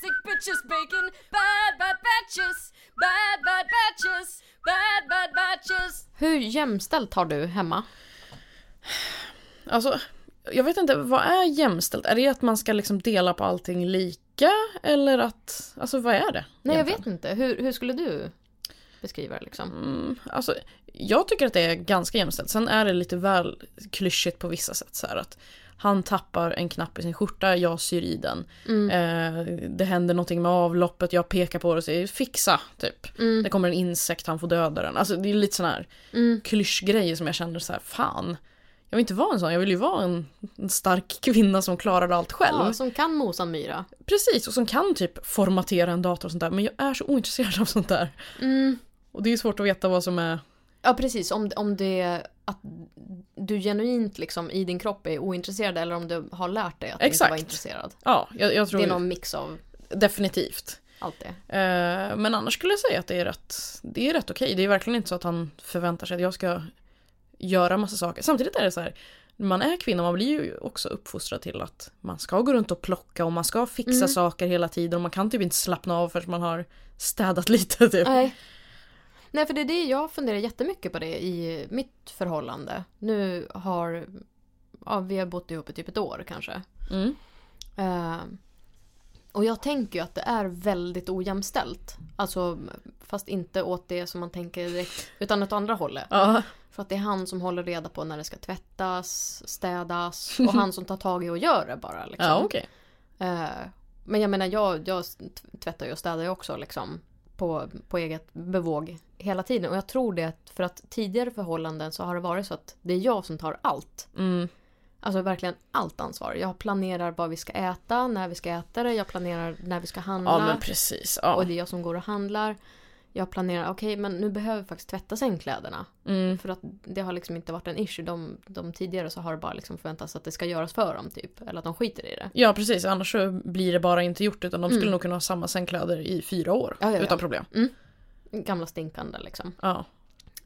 sandwiches, bacon, bad bad batches, bad bad batches, bad bad batches. Hur jämställt har du hemma? Alltså, jag vet inte, vad är jämställt? Är det att man ska liksom dela på allting lika? Eller att, alltså vad är det? Nej jag egentligen? vet inte, hur, hur skulle du beskriva det liksom? Mm, alltså, jag tycker att det är ganska jämställt. Sen är det lite väl klyschigt på vissa sätt. Så här, att han tappar en knapp i sin skjorta, jag syr i den. Eh, det händer någonting med avloppet, jag pekar på det och säger fixa, typ. Det kommer en insekt, han får döda den. Alltså det är lite sån här klyschgrejer som jag känner så här, fan. Jag vill inte vara en sån, jag vill ju vara en, en stark kvinna som klarar allt själv. Ja, som kan mosa en myra. Precis, och som kan typ formatera en dator och sånt där. Men jag är så ointresserad av sånt där. Och det är ju svårt att veta vad som är Ja precis, om, om det att du genuint liksom i din kropp är ointresserad eller om du har lärt dig att inte Exakt. vara intresserad. Ja, jag, jag tror Det är någon mix av definitivt. allt det. Eh, men annars skulle jag säga att det är rätt, det är rätt okej. Det är verkligen inte så att han förväntar sig att jag ska göra massa saker. Samtidigt är det så här, när man är kvinna, man blir ju också uppfostrad till att man ska gå runt och plocka och man ska fixa Mm. saker hela tiden och man kan typ inte slappna av förrän man har städat lite typ. Nej. Nej, för det är det jag funderar jättemycket på det i mitt förhållande. Nu har ja, vi har bott ihop i typ ett år kanske. Mm. Eh, och jag tänker ju att det är väldigt ojämställt. Alltså fast inte åt det som man tänker direkt utan åt andra hållet. Ja, För att det är han som håller reda på när det ska tvättas, städas och han som tar tag i och gör det bara. Liksom. ja okej. Eh, Men jag menar, jag, jag t- tvättar ju och städar ju också liksom på, på eget bevåg hela tiden. Och jag tror det att- för att tidigare förhållanden så har det varit så att det är jag som tar allt. Mm. Alltså verkligen allt ansvar. Jag planerar vad vi ska äta, när vi ska äta det, jag planerar när vi ska handla. Ja men precis. Ja. Mm. Och det är jag som går och handlar. Jag planerar, okej men nu behöver vi faktiskt tvätta sängkläderna. Mm. För att det har liksom inte varit en issue. De, de tidigare så har det bara liksom förväntats att det ska göras för dem typ. Eller att de skiter i det. ja precis, annars så blir det bara inte gjort utan de skulle Mm. nog kunna ha samma sängkläder i fyra år Ja, ja, ja. utan problem. Gamla stinkande liksom. Ja.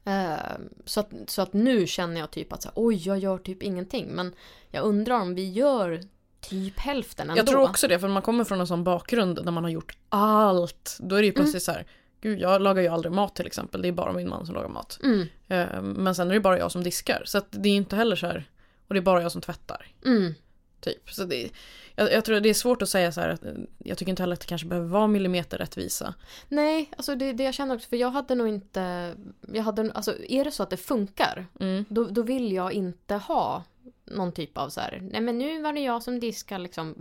Eh, så, att, så att nu känner jag typ att så här, oj, jag gör typ ingenting. Men jag undrar om vi gör typ hälften ändå. Jag tror också det, för man kommer från en sån bakgrund där man har gjort allt. Då är det ju Mm. plötsligt så här, gud jag lagar ju aldrig mat till exempel, det är bara min man som lagar mat. Mm, Eh, Men sen är det bara jag som diskar, så att det är inte heller så här, och det är bara jag som tvättar. mm, Typ. Så det, jag, jag tror det är svårt att säga så här, att, eh, jag tycker inte heller att det kanske behöver vara millimeter rättvisa. Nej, alltså det, det jag känner också, för jag hade nog inte... Jag hade, alltså, är det så att det funkar, Mm. då, då vill jag inte ha någon typ av så här, nej men nu var det jag som diskar liksom.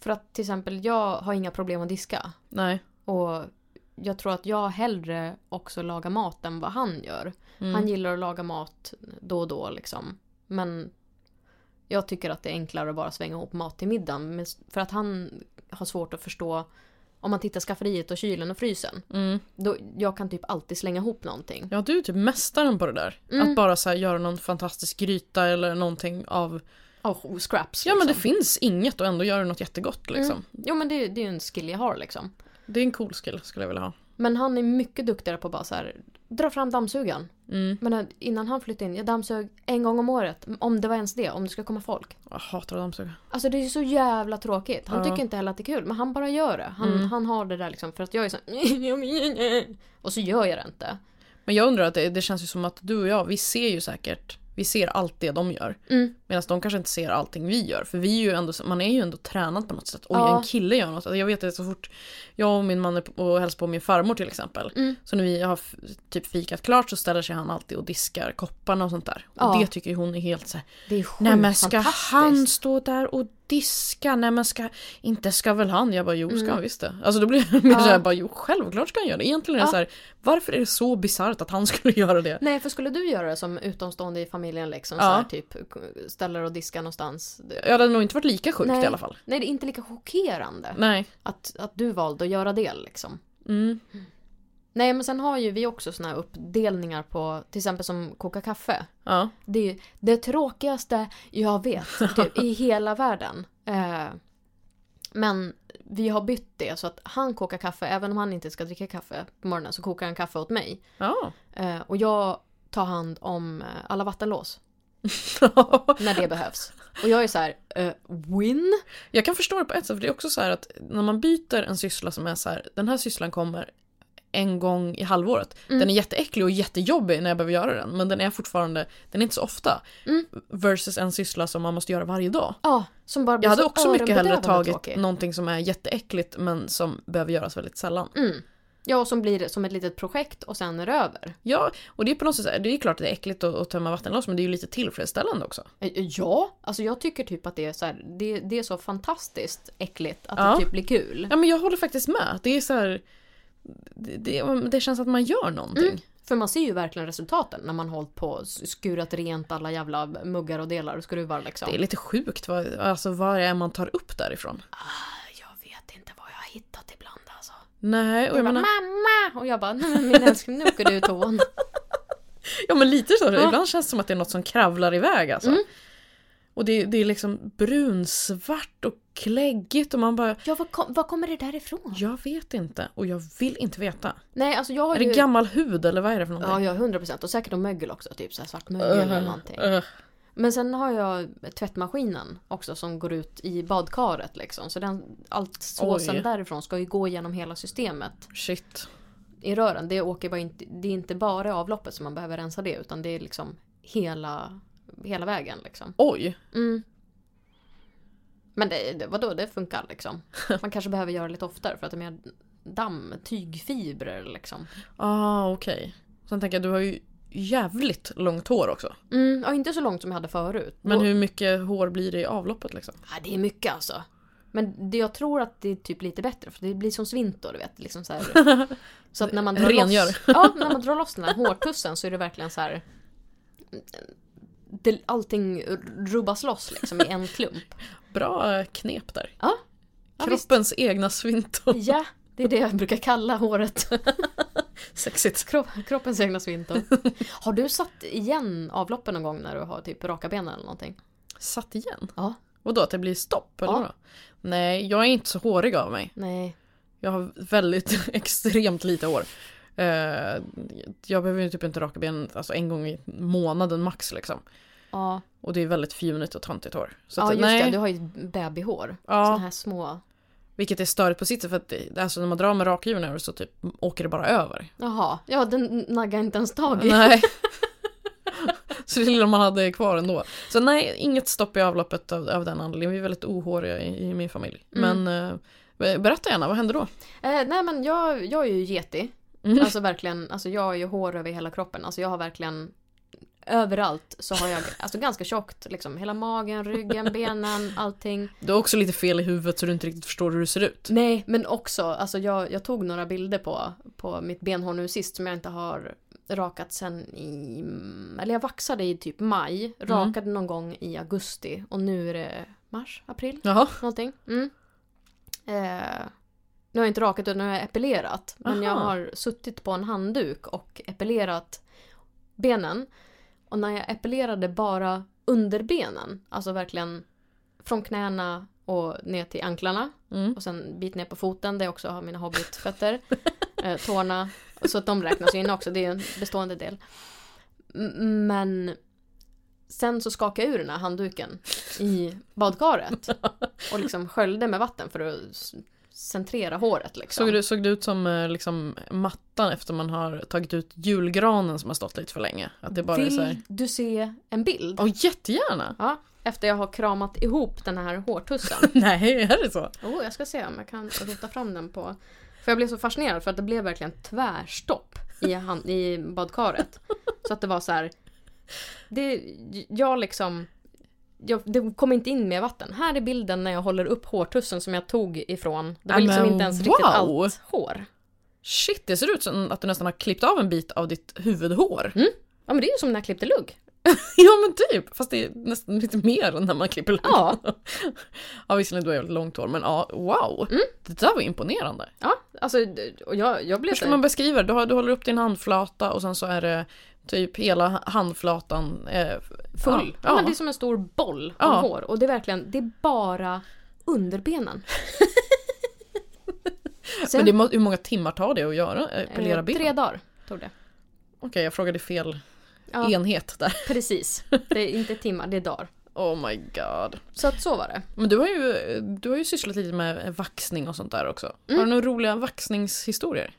För att till exempel jag har inga problem att diska. Nej. Och jag tror att jag hellre också lagar mat än vad han gör. Mm. Han gillar att laga mat då och då liksom. Men jag tycker att det är enklare att bara svänga ihop mat till middagen. Men s- För att han har svårt att förstå om man tittar skafferiet och kylen och frysen. Mm. Då, jag kan typ alltid slänga ihop någonting. Ja, du är typ mästaren på det där. Mm. Att bara så här, göra någon fantastisk gryta eller någonting av... Oh, scraps Ja, men det liksom. finns inget och ändå gör du något jättegott liksom. mm. Jo men det, det är ju en skill jag har liksom. Det är en cool skill skulle jag vilja ha. Men han är mycket duktigare på att bara så här, dra fram dammsugaren. Mm. Men innan han flyttade in, jag dammsög en gång om året. Om det var ens det, om det ska komma folk. Jag hatar att dammsuga. Alltså det är ju så jävla tråkigt. Han Ja. tycker inte heller att det är kul, men han bara gör det. Han, han har det där liksom, för att jag är så här, Och så gör jag det inte. Men jag undrar att det, det känns ju som att du och jag, vi ser ju säkert, vi ser allt det de gör. Mm. Medan de kanske inte ser allting vi gör. För vi är ju ändå, man är ju ändå tränad på något sätt. Oj, Ja. en kille gör något. Alltså, Jag vet att så fort jag och min man är på, och hälsar på min farmor till exempel. Mm. Så när vi har f- typ fikat klart så ställer sig han alltid och diskar kopparna och sånt där. Och Ja. det tycker ju hon är helt så här, Det är sjukt Nej men ska fantastiskt. han stå där och diska? Nej men ska, inte ska väl han? Jag bara jo ska han visst det. Alltså då blir jag mer Mm. Ja. såhär bara jo självklart ska han göra det. Egentligen är det Ja. så här, varför är det så bisarrt att han skulle göra det? Nej, för skulle du göra det som utomstående i familjen liksom, Ja. så här, typ ställer och diskar någonstans. Det- Jag hade nog inte varit lika sjukt Nej. i alla fall. Nej, det är inte lika chockerande Nej. att, att du valde att göra det liksom. Mm. Nej, men sen har ju vi också såna här uppdelningar på, till exempel som koka kaffe. Ja. Det är ju det tråkigaste jag vet typ, i hela världen. Eh, men vi har bytt det så att han kokar kaffe, även om han inte ska dricka kaffe på morgonen så kokar han kaffe åt mig. Ja. Eh, och jag tar hand om eh, alla vattenlås när det behövs. Och jag är så här, eh, win? Jag kan förstå det på ett sätt, för det är också så här att när man byter en syssla som är så här, den här sysslan kommer en gång i halvåret. Mm. Den är jätteäcklig och jättejobbig när jag behöver göra den, men den är fortfarande, den är inte så ofta. Mm. Versus en syssla som man måste göra varje dag. Ja, som bara blir Jag hade så också mycket hellre öronbedövande tagit tråkig. någonting som är jätteäckligt men som behöver göras väldigt sällan. Mm. Ja, och som blir som ett litet projekt och sen är det över. Ja, och det är på något sätt, så här, det är ju klart att det är äckligt att, att tömma vattenloss men det är ju lite tillfredsställande också. Eh, Ja, alltså jag tycker typ att det är så här, det, det är så fantastiskt äckligt att Ja. det typ blir kul. Ja men jag håller faktiskt med, det är så här, det, det, det känns att man gör någonting. För man ser ju verkligen resultaten när man hållit på och skurat rent alla jävla muggar och delar och skruvar liksom. Det är lite sjukt vad, alltså, vad det är man tar upp därifrån. Ah, jag vet inte vad jag har hittat ibland alltså. Nej, och jag Jag bara, menar, mamma! Och jag bara, "Nej, men min älskling nu åker du i toan. ja men lite så. Ja. Ibland känns det som att det är något som kravlar iväg alltså. Mm. Och det, det är liksom brunsvart och kläggigt och man bara, Ja, var, kom, var kommer det där ifrån? jag vet inte och jag vill inte veta. Nej, alltså jag har Är ju... det gammal hud eller vad är det för Ja, någonting? ja, 100 procent. Och säkert om mögel också, typ så här svart mögel Uh-huh. eller någonting. Ugh. Men sen har jag tvättmaskinen också som går ut i badkaret liksom. Så den, allt såsen Oj. därifrån ska ju gå igenom hela systemet Shit. i rören. Det, åker bara inte, det är inte bara i avloppet som man behöver rensa det utan det är liksom hela, hela vägen liksom. Oj. Mm. Men det, det, vadå, det funkar liksom. Man kanske behöver göra lite oftare för att det är mer damm, tygfibrer liksom. Ah, okej. Sen tänker jag, du har ju jävligt långt hår också. Mm, ja, inte så långt som jag hade förut. Men Då- hur mycket hår blir det i avloppet liksom? Ja, det är mycket alltså. Men det, jag tror att det är typ lite bättre för det blir som svint då, du vet. Liksom så, här. så att när man drar Rengör. loss... Ja, när man drar loss den här hårtussen så är det verkligen så här... Det, allting rubbas loss liksom i en klump. Bra eh, knep där. Ja. Ja, visst. Kroppens egna svinton. Ja, det är det jag brukar kalla håret. Sexigt. Kropp, kroppens egna svintor. Har du satt igen avloppen någon gång när du har typ raka benen eller någonting? Satt igen? Ja. Vadå, att det blir stopp? Eller Ja. vadå? Nej, jag är inte så hårig av mig. Nej. Jag har väldigt extremt lite hår. Eh, jag behöver ju typ inte raka benen alltså en gång i månaden max liksom. Ja, Och det är väldigt fjunigt och töntigt hår. Så ja att, just nej, det. Du har ju babyhår. Ja. Såna här små... Vilket är störigt på sitt sätt för att det, alltså när man drar med rakhyveln över så typ åker det bara över. Jaha, ja den naggar inte ens tag i. Nej. så det lilla man hade kvar ändå. Så nej, inget stopp i avloppet av, av den anledningen. Vi är väldigt ohåriga i, i min familj. Mm. Men eh, berätta gärna, vad hände då? Eh, nej men jag, jag är ju geti. Mm. Alltså verkligen, alltså jag har ju hår över hela kroppen. Alltså jag har verkligen överallt så har jag alltså ganska tjockt liksom. Hela magen, ryggen, benen, allting. Du har också lite fel i huvudet så du inte riktigt förstår hur du ser ut. Nej men också, alltså jag, jag tog några bilder på, på mitt benhår nu sist som jag inte har rakat sen i, eller jag vaxade i typ maj, rakade någon gång i augusti och nu är det mars, april. Jaha. någonting. Mm. Eh, nu har jag inte rakat utan nu har jag epilerat. Men jag Aha. har suttit på en handduk och epilerat benen. Och när jag epilerade bara underbenen, alltså verkligen från knäna och ner till anklarna Mm. och sen bit ner på foten där jag också har mina hobbitfötter, eh, tårna, så att de räknas ju in också, det är en bestående del. M- Men sen så skakade jag ur den här handduken i badkaret och liksom sköljde med vatten för att s- centrera håret liksom. Såg, du, såg det ut som eh, liksom, mattan efter man har tagit ut julgranen som har stått lite för länge? Att det bara är så här... Vill du se en bild? Ja, jättegärna! Ja, efter jag har kramat ihop den här hårtussen. Nej, är det så? Oh, jag ska se om jag kan rota fram den på... För jag blev så fascinerad för att det blev verkligen tvärstopp i, han, i badkaret. Så att det var så här... Det, jag liksom... Jag, det kom inte in mer vatten. Här är bilden när jag håller upp hårtussen som jag tog ifrån. Det var Ja, liksom men inte ens wow! riktigt allt hår. Shit, det ser ut som att du nästan har klippt av en bit av ditt huvudhår. Ja men det är ju som när jag klippte lugg. ja men typ, fast det är nästan lite mer än när man klipper lugg. Ja. ja visserligen du har jävligt långt hår men ja, wow. Mm. Det där var imponerande. Ja, alltså det- och jag, jag blev Hur så ska här, man beskriva det? Du, har, du håller upp din handflata och sen så är det typ hela handflatan eh, full. Ja, Ja, Men det är som en stor boll Ja. av hår. Och det är verkligen, det är bara underbenen. Men det, må- hur många timmar tar det att göra? eh, Pelera Eh, ben? Tre dagar tog det. Okej, jag frågade fel Ja. enhet där. Precis. Det är inte timmar, det är dagar. Oh my god. Så att så var det. Men du har ju, du har ju sysslat lite med vaxning och sånt där också. Mm. Har du några roliga vaxningshistorier?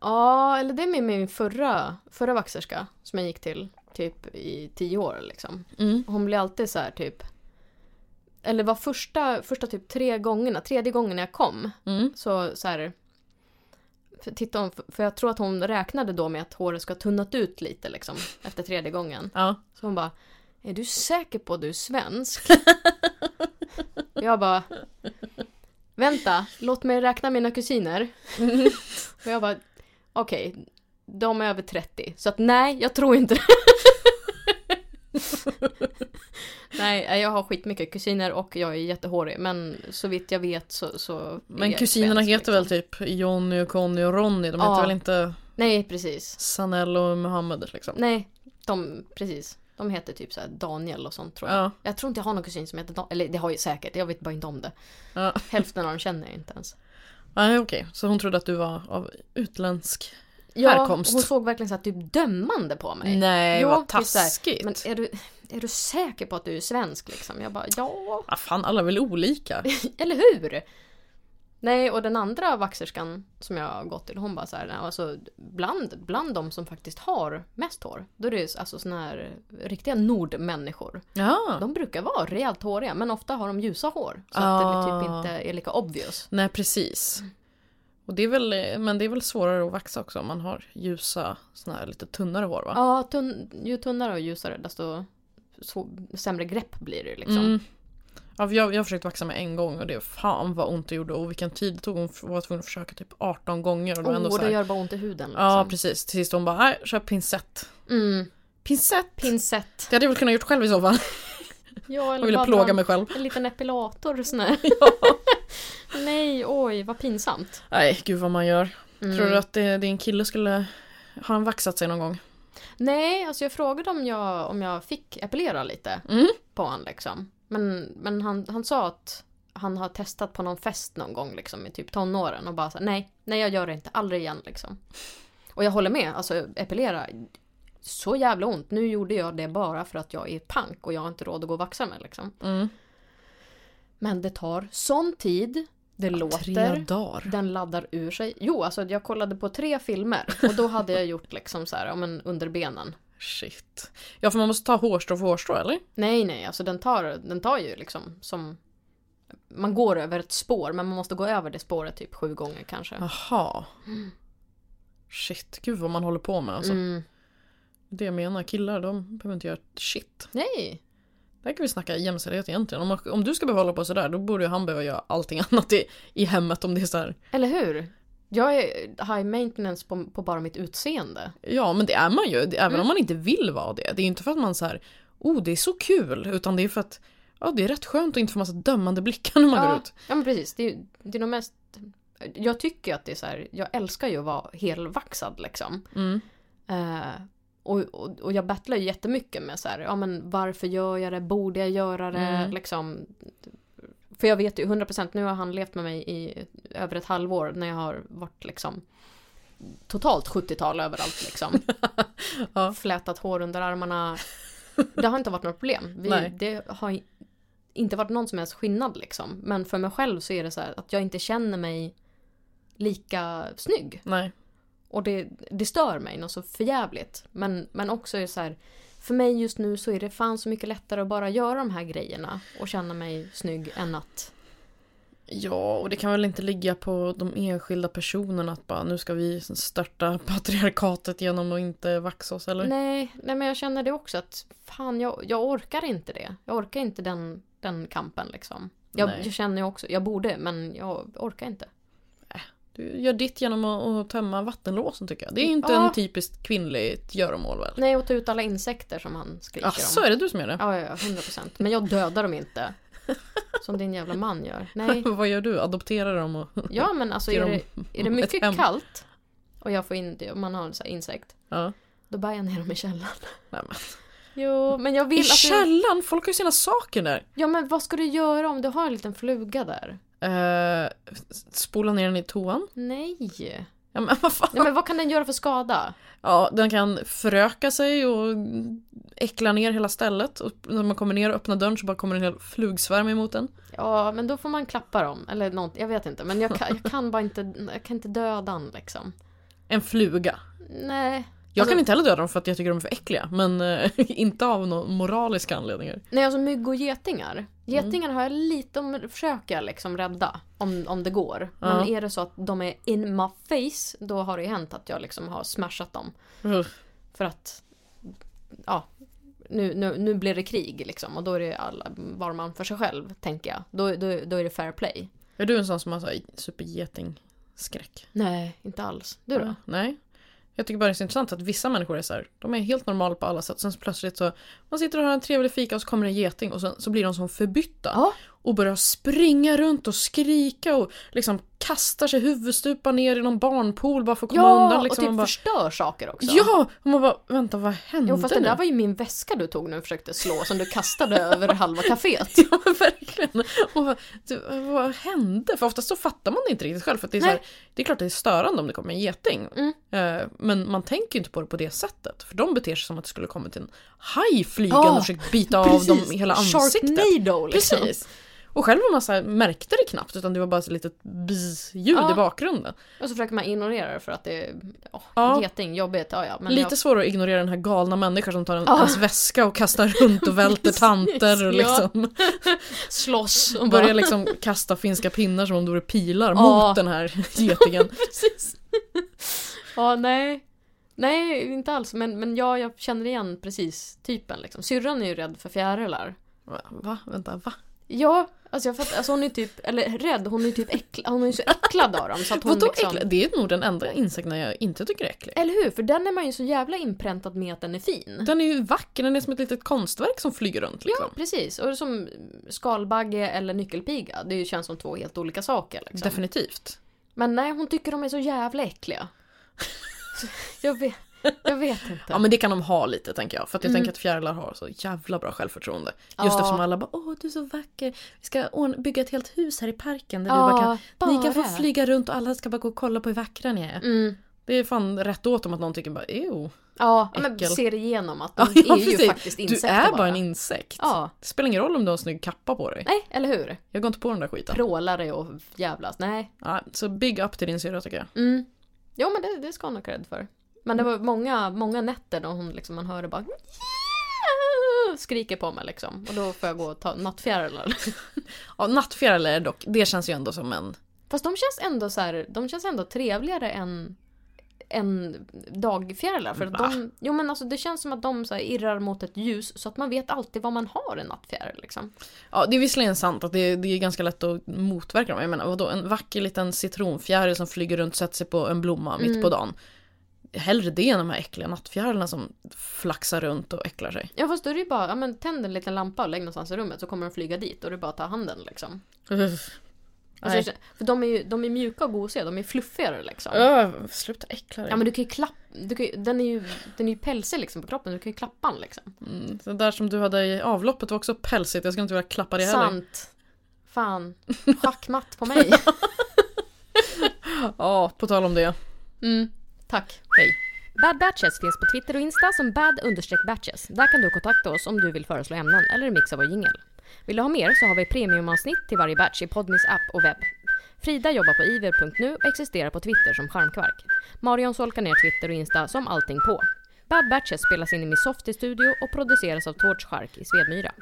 Ja, eller det är med min förra, förra vaxerska som jag gick till typ i tio år liksom. Mm. Hon blir alltid så här typ eller var första, första typ tre gångerna, tredje gången jag kom Mm. så så här för, titta om, för jag tror att hon räknade då med att håret ska ha tunnat ut lite liksom efter tredje gången. Ja. Så hon bara Är du säker på att du är svensk? jag bara Vänta, låt mig räkna mina kusiner. Och jag bara Okej, de är över 30. Så att nej, jag tror inte det. Nej, eh, jag har skitmycket kusiner och jag är jättehårig. Men så vitt jag vet så... så är Men jag kusinerna svensk, heter liksom. väl typ Jonny och Conny och Ronny? De Ja. heter väl inte Nej, precis. Sanel och Mohammed liksom? Nej, de... Precis. De heter typ så här Daniel och sånt tror jag. Ja. Jag tror inte jag har någon kusin som heter Dan. Eller det har jag säkert, jag vet bara inte om det. Ja. Hälften av dem känner jag inte ens. Nej okej, så hon trodde att du var av utländsk hon härkomst? såg verkligen så här typ dömande på mig. Nej Ja, vad visst är. taskigt! Men är du, är du säker på att du är svensk liksom? Jag bara ja, Ah, fan alla är väl olika? eller hur? Nej, och den andra vaxerskan som jag har gått till, hon bara så här, "Nej, alltså bland, bland de som faktiskt har mest hår, då är det alltså såna här riktiga nordmänniskor. Ja. De brukar vara rejält håriga, men ofta har de ljusa hår. Så att det blir typ Ah. inte är lika obvious. Nej precis. Och det är väl, men det är väl svårare att vaxa också om man har ljusa, såna här lite tunnare hår va? Ja, tunn, ju tunnare och ljusare desto så, sämre grepp blir det liksom. Mm. Ja, för jag, jag har försökt vaxa mig en gång och det fan vad ont det gjorde och vilken tid det tog. Hon f- var tvungen att försöka typ 18 gånger. Och det var ändå oh, så det här, gör bara ont i huden liksom. Ja precis, till sist hon bara nej, kör pincett. mm. Pincett! Pinsett. det hade jag väl kunnat gjort själv i så fall. Ja, Jag eller ville bara plåga dra mig själv. En liten epilator sån här. Nej, oj, vad pinsamt. Nej gud vad man gör. Mm. Tror du att eh, din kille skulle, har han vaxat sig någon gång? Nej, alltså jag frågade om jag, om jag fick epilera lite Mm. på honom liksom. Men, men han, han sa att han har testat på någon fest någon gång liksom i typ tonåren och bara så, här, nej, nej jag gör det inte, aldrig igen liksom. Och jag håller med, alltså epilera, så jävla ont. Nu gjorde jag det bara för att jag är pank och jag har inte råd att gå och vaxa mig liksom. Mm. Men det tar sån tid, det låter. Tre dagar. Den laddar ur sig. Jo, alltså jag kollade på tre filmer och då hade jag gjort liksom så här, ja men under benen. Shit. Ja för man måste ta hårstrå för hårstrå eller? Nej, nej, alltså den tar, den tar ju liksom som... Man går över ett spår, men man måste gå över det spåret typ sju gånger kanske. Jaha. Shit, gud vad man håller på med alltså. Mm. Det jag menar, killar de behöver inte göra ett shit. Nej! Där kan vi snacka jämställdhet egentligen. Om, om du ska behöva hålla på sådär då borde ju han behöva göra allting annat i, i hemmet om det är såhär. Eller hur? Jag är high maintenance på, på bara mitt utseende. Ja men det är man ju, det, även om man inte vill vara det. Det är ju inte för att man såhär, oh det är så kul, utan det är för att ja, det är rätt skönt att inte få massa dömande blickar när man går Ja, ut. ja men precis. Det är, det är nog mest... Jag tycker ju att det är så här, jag älskar ju att vara helvaxad liksom. Mm. Eh, och, och, och jag battlar ju jättemycket med så här, ja men varför gör jag det, borde jag göra det, Mm. liksom. För jag vet ju 100%, nu har han levt med mig i över ett halvår när jag har varit liksom totalt 70-tal överallt liksom. Ja. Flätat hår under armarna. Det har inte varit något problem. Vi, Nej. det har i- inte varit någon som helst skillnad liksom. Men för mig själv så är det så här att jag inte känner mig lika snygg. Nej. Och det, det stör mig något så förjävligt. Men, men också är det så här, för mig just nu så är det fan så mycket lättare att bara göra de här grejerna och känna mig snygg än att... Ja, och det kan väl inte ligga på de enskilda personerna att bara nu ska vi störta patriarkatet genom att inte vaxa oss eller? Nej, nej men jag känner det också att fan jag, jag orkar inte det. Jag orkar inte den, den kampen liksom. Jag, Nej. jag känner ju också, jag borde men jag orkar inte. Du gör ditt genom att, att tömma vattenlåsen tycker jag. Det är ju inte Ja. en typiskt kvinnligt göromål väl? Nej, och ta ut alla insekter som han skriker Jaså, om. är det du som gör det? Ja, ja, ja, 100%. Men jag dödar dem inte. Som din jävla man gör. Nej. Vad gör du? Adopterar dem och... Ja men alltså Ger är Typ dem det, är det ett hem. mycket kallt och jag får in det, om man har så här insekt, Ja. då bär jag ner dem i källaren. Nej, men. Jo, men jag vill I att du- källaren? Folk har ju sina saker där! Ja men vad ska du göra om du har en liten fluga där? Eh, spola ner den i toan. Nej. Ja, men vad fan. Ja, men vad kan den göra för skada? Ja, den kan föröka sig och äcklar ner hela stället och när man kommer ner och öppnar dörren så bara kommer en hel flugsvärm emot en. Ja, men då får man klappa dem. Eller något, jag vet inte. Men jag kan, jag kan bara inte, jag kan inte döda den liksom. En fluga. Nej. Jag Alltså- kan inte heller döda dem för att jag tycker de är för äckliga men eh, inte av några moraliska anledningar. Nej, alltså mygg och Mm. getingar. Getingar har jag lite, om försöker jag liksom rädda. Om, om det går. Men Ja. är det så att de är in my face, då har det ju hänt att jag liksom har smashat dem. Uff. För att, ja, nu, nu, nu blir det krig liksom. Och då är det alla, var man för sig själv, tänker jag. Då, då, då är det fair play. Är du en sån som har så här supergetingskräck? Nej, inte alls. Du då? Nej. Jag tycker bara det är så intressant att vissa människor är så här, de är helt normala på alla sätt. Sen så plötsligt så, man sitter och har en trevlig fika och så kommer en geting och sen så blir de som förbytta. Ja. Och börjar springa runt och skrika och liksom kastar sig huvudstupa ner i någon barnpool bara för att komma undan. och Liksom. typ Man bara, förstör saker också. Ja! Och man bara, vänta vad hände Jo, fast det nu? där var ju min väska du tog nu och försökte slå som du kastade över halva kaféet. Ja, verkligen. Och vad, du, vad hände? För oftast så fattar man det inte riktigt själv. För att det, är så här, det är klart det är störande om det kommer en geting. Mm. Eh, Men man tänker ju inte på det på det sättet. För de beter sig som att det skulle kommit en haj flygande Ja, och försökt bita av dem i hela ansiktet. Sharknado liksom. Precis. Och själv var man så här, märkte det knappt utan det var bara ett litet biljud Ja. i bakgrunden. Och så försöker man ignorera det för att det är åh, Ja. geting, jobbigt. Ja, ja, men Lite svårare att ignorera den här galna människan som tar en, Ja. ens väska och kastar runt och välter Precis, tanter och ja. liksom. jag slåss och bara... Börjar liksom kasta finska pinnar som om det vore pilar Ja. mot den här getingen. Precis. ja, nej. Nej, inte alls. Men, men ja, jag känner igen precis typen. Liksom. Syrran är ju rädd för fjärilar. Va? va? Vänta, va? Ja, alltså jag fattar. Alltså hon är typ, eller rädd, hon är typ äcklad. Hon är ju så äcklad av dem. Så att hon Vadå liksom... äcklig? Det är nog den enda insekten jag inte tycker är äcklig. Eller hur? För den är man ju så jävla inpräntad med att den är fin. Den är ju vacker, den är som ett litet konstverk som flyger runt liksom. Ja, precis. Och som skalbagge eller nyckelpiga. Det känns som två helt olika saker. Liksom. Definitivt. Men nej, hon tycker de är så jävla äckliga. Så, jag, vet, jag vet inte. Ja men det kan de ha lite tänker jag. För att jag Mm. tänker att fjärilar har så jävla bra självförtroende. Just Ja. eftersom alla bara åh du är så vacker, vi ska ordna- bygga ett helt hus här i parken där Ja, vi bara kan, ni kan få bara. flyga runt och alla ska bara gå och kolla på hur vackra ni är. Mm. Det är fan rätt åt dem att någon tycker bara ew. Ja, men Äckel. ser igenom att de Ja, ja, är ju precis. faktiskt Du insekter är bara en insekt. Ja, Det spelar ingen roll om du har en snygg kappa på dig. nej, eller hur? Jag går inte på den där skiten. Prålare och jävlas. Nej. Ja, så big up till din syrra tycker jag. Mm. Jo, men det, det ska hon ha cred för. Men det Mm. var många, många nätter då hon liksom, man hörde bara skriker på mig liksom. Och då får jag gå och ta nattfjärilar. Ja, nattfjärilar är dock, det känns ju ändå som en... Fast de känns ändå så här, de känns ändå trevligare än, än dagfjärilar. För att Va? de, jo men alltså det känns som att de så här irrar mot ett ljus så att man vet alltid vad man har en nattfjäril liksom. Ja, det är visserligen sant att det, det är ganska lätt att motverka dem. Jag menar, vadå, en vacker liten citronfjäril som flyger runt och sätter sig på en blomma mitt Mm. på dagen. Hellre det än de här äckliga nattfjärilarna som flaxar runt och äcklar sig. Ja fast då är det ju bara, ja men tänd en liten lampa och lägg någonstans i rummet så kommer de flyga dit och det är bara att ta handen liksom. Uff. Alltså, Nej. jag känner- för de är ju de är mjuka och gosiga, de är fluffigare liksom. Öh, sluta äckla dig. Ja men du kan ju klappa, du kan ju, den är ju, den är ju pälsig liksom på kroppen, du kan ju klappa den liksom. Mm, det där som du hade i avloppet var också pälsigt, jag skulle inte vilja klappa det heller. Sant. Fan. Schackmatt på mig. Ja, på tal om det. Mm. Tack. Hej. Bad Batches finns på Twitter och Insta som bad-batches. Där kan du kontakta oss om du vill föreslå ämnen eller mixa vår jingel. Vill du ha mer så har vi premiumavsnitt till varje batch i Podmis app och webb. Frida jobbar på iver.nu och existerar på Twitter som Charmkvark. Marion solkar ner Twitter och Insta som allting på. Bad Batches spelas in i Min Softie studio och produceras av Torch Shark i Svedmyra.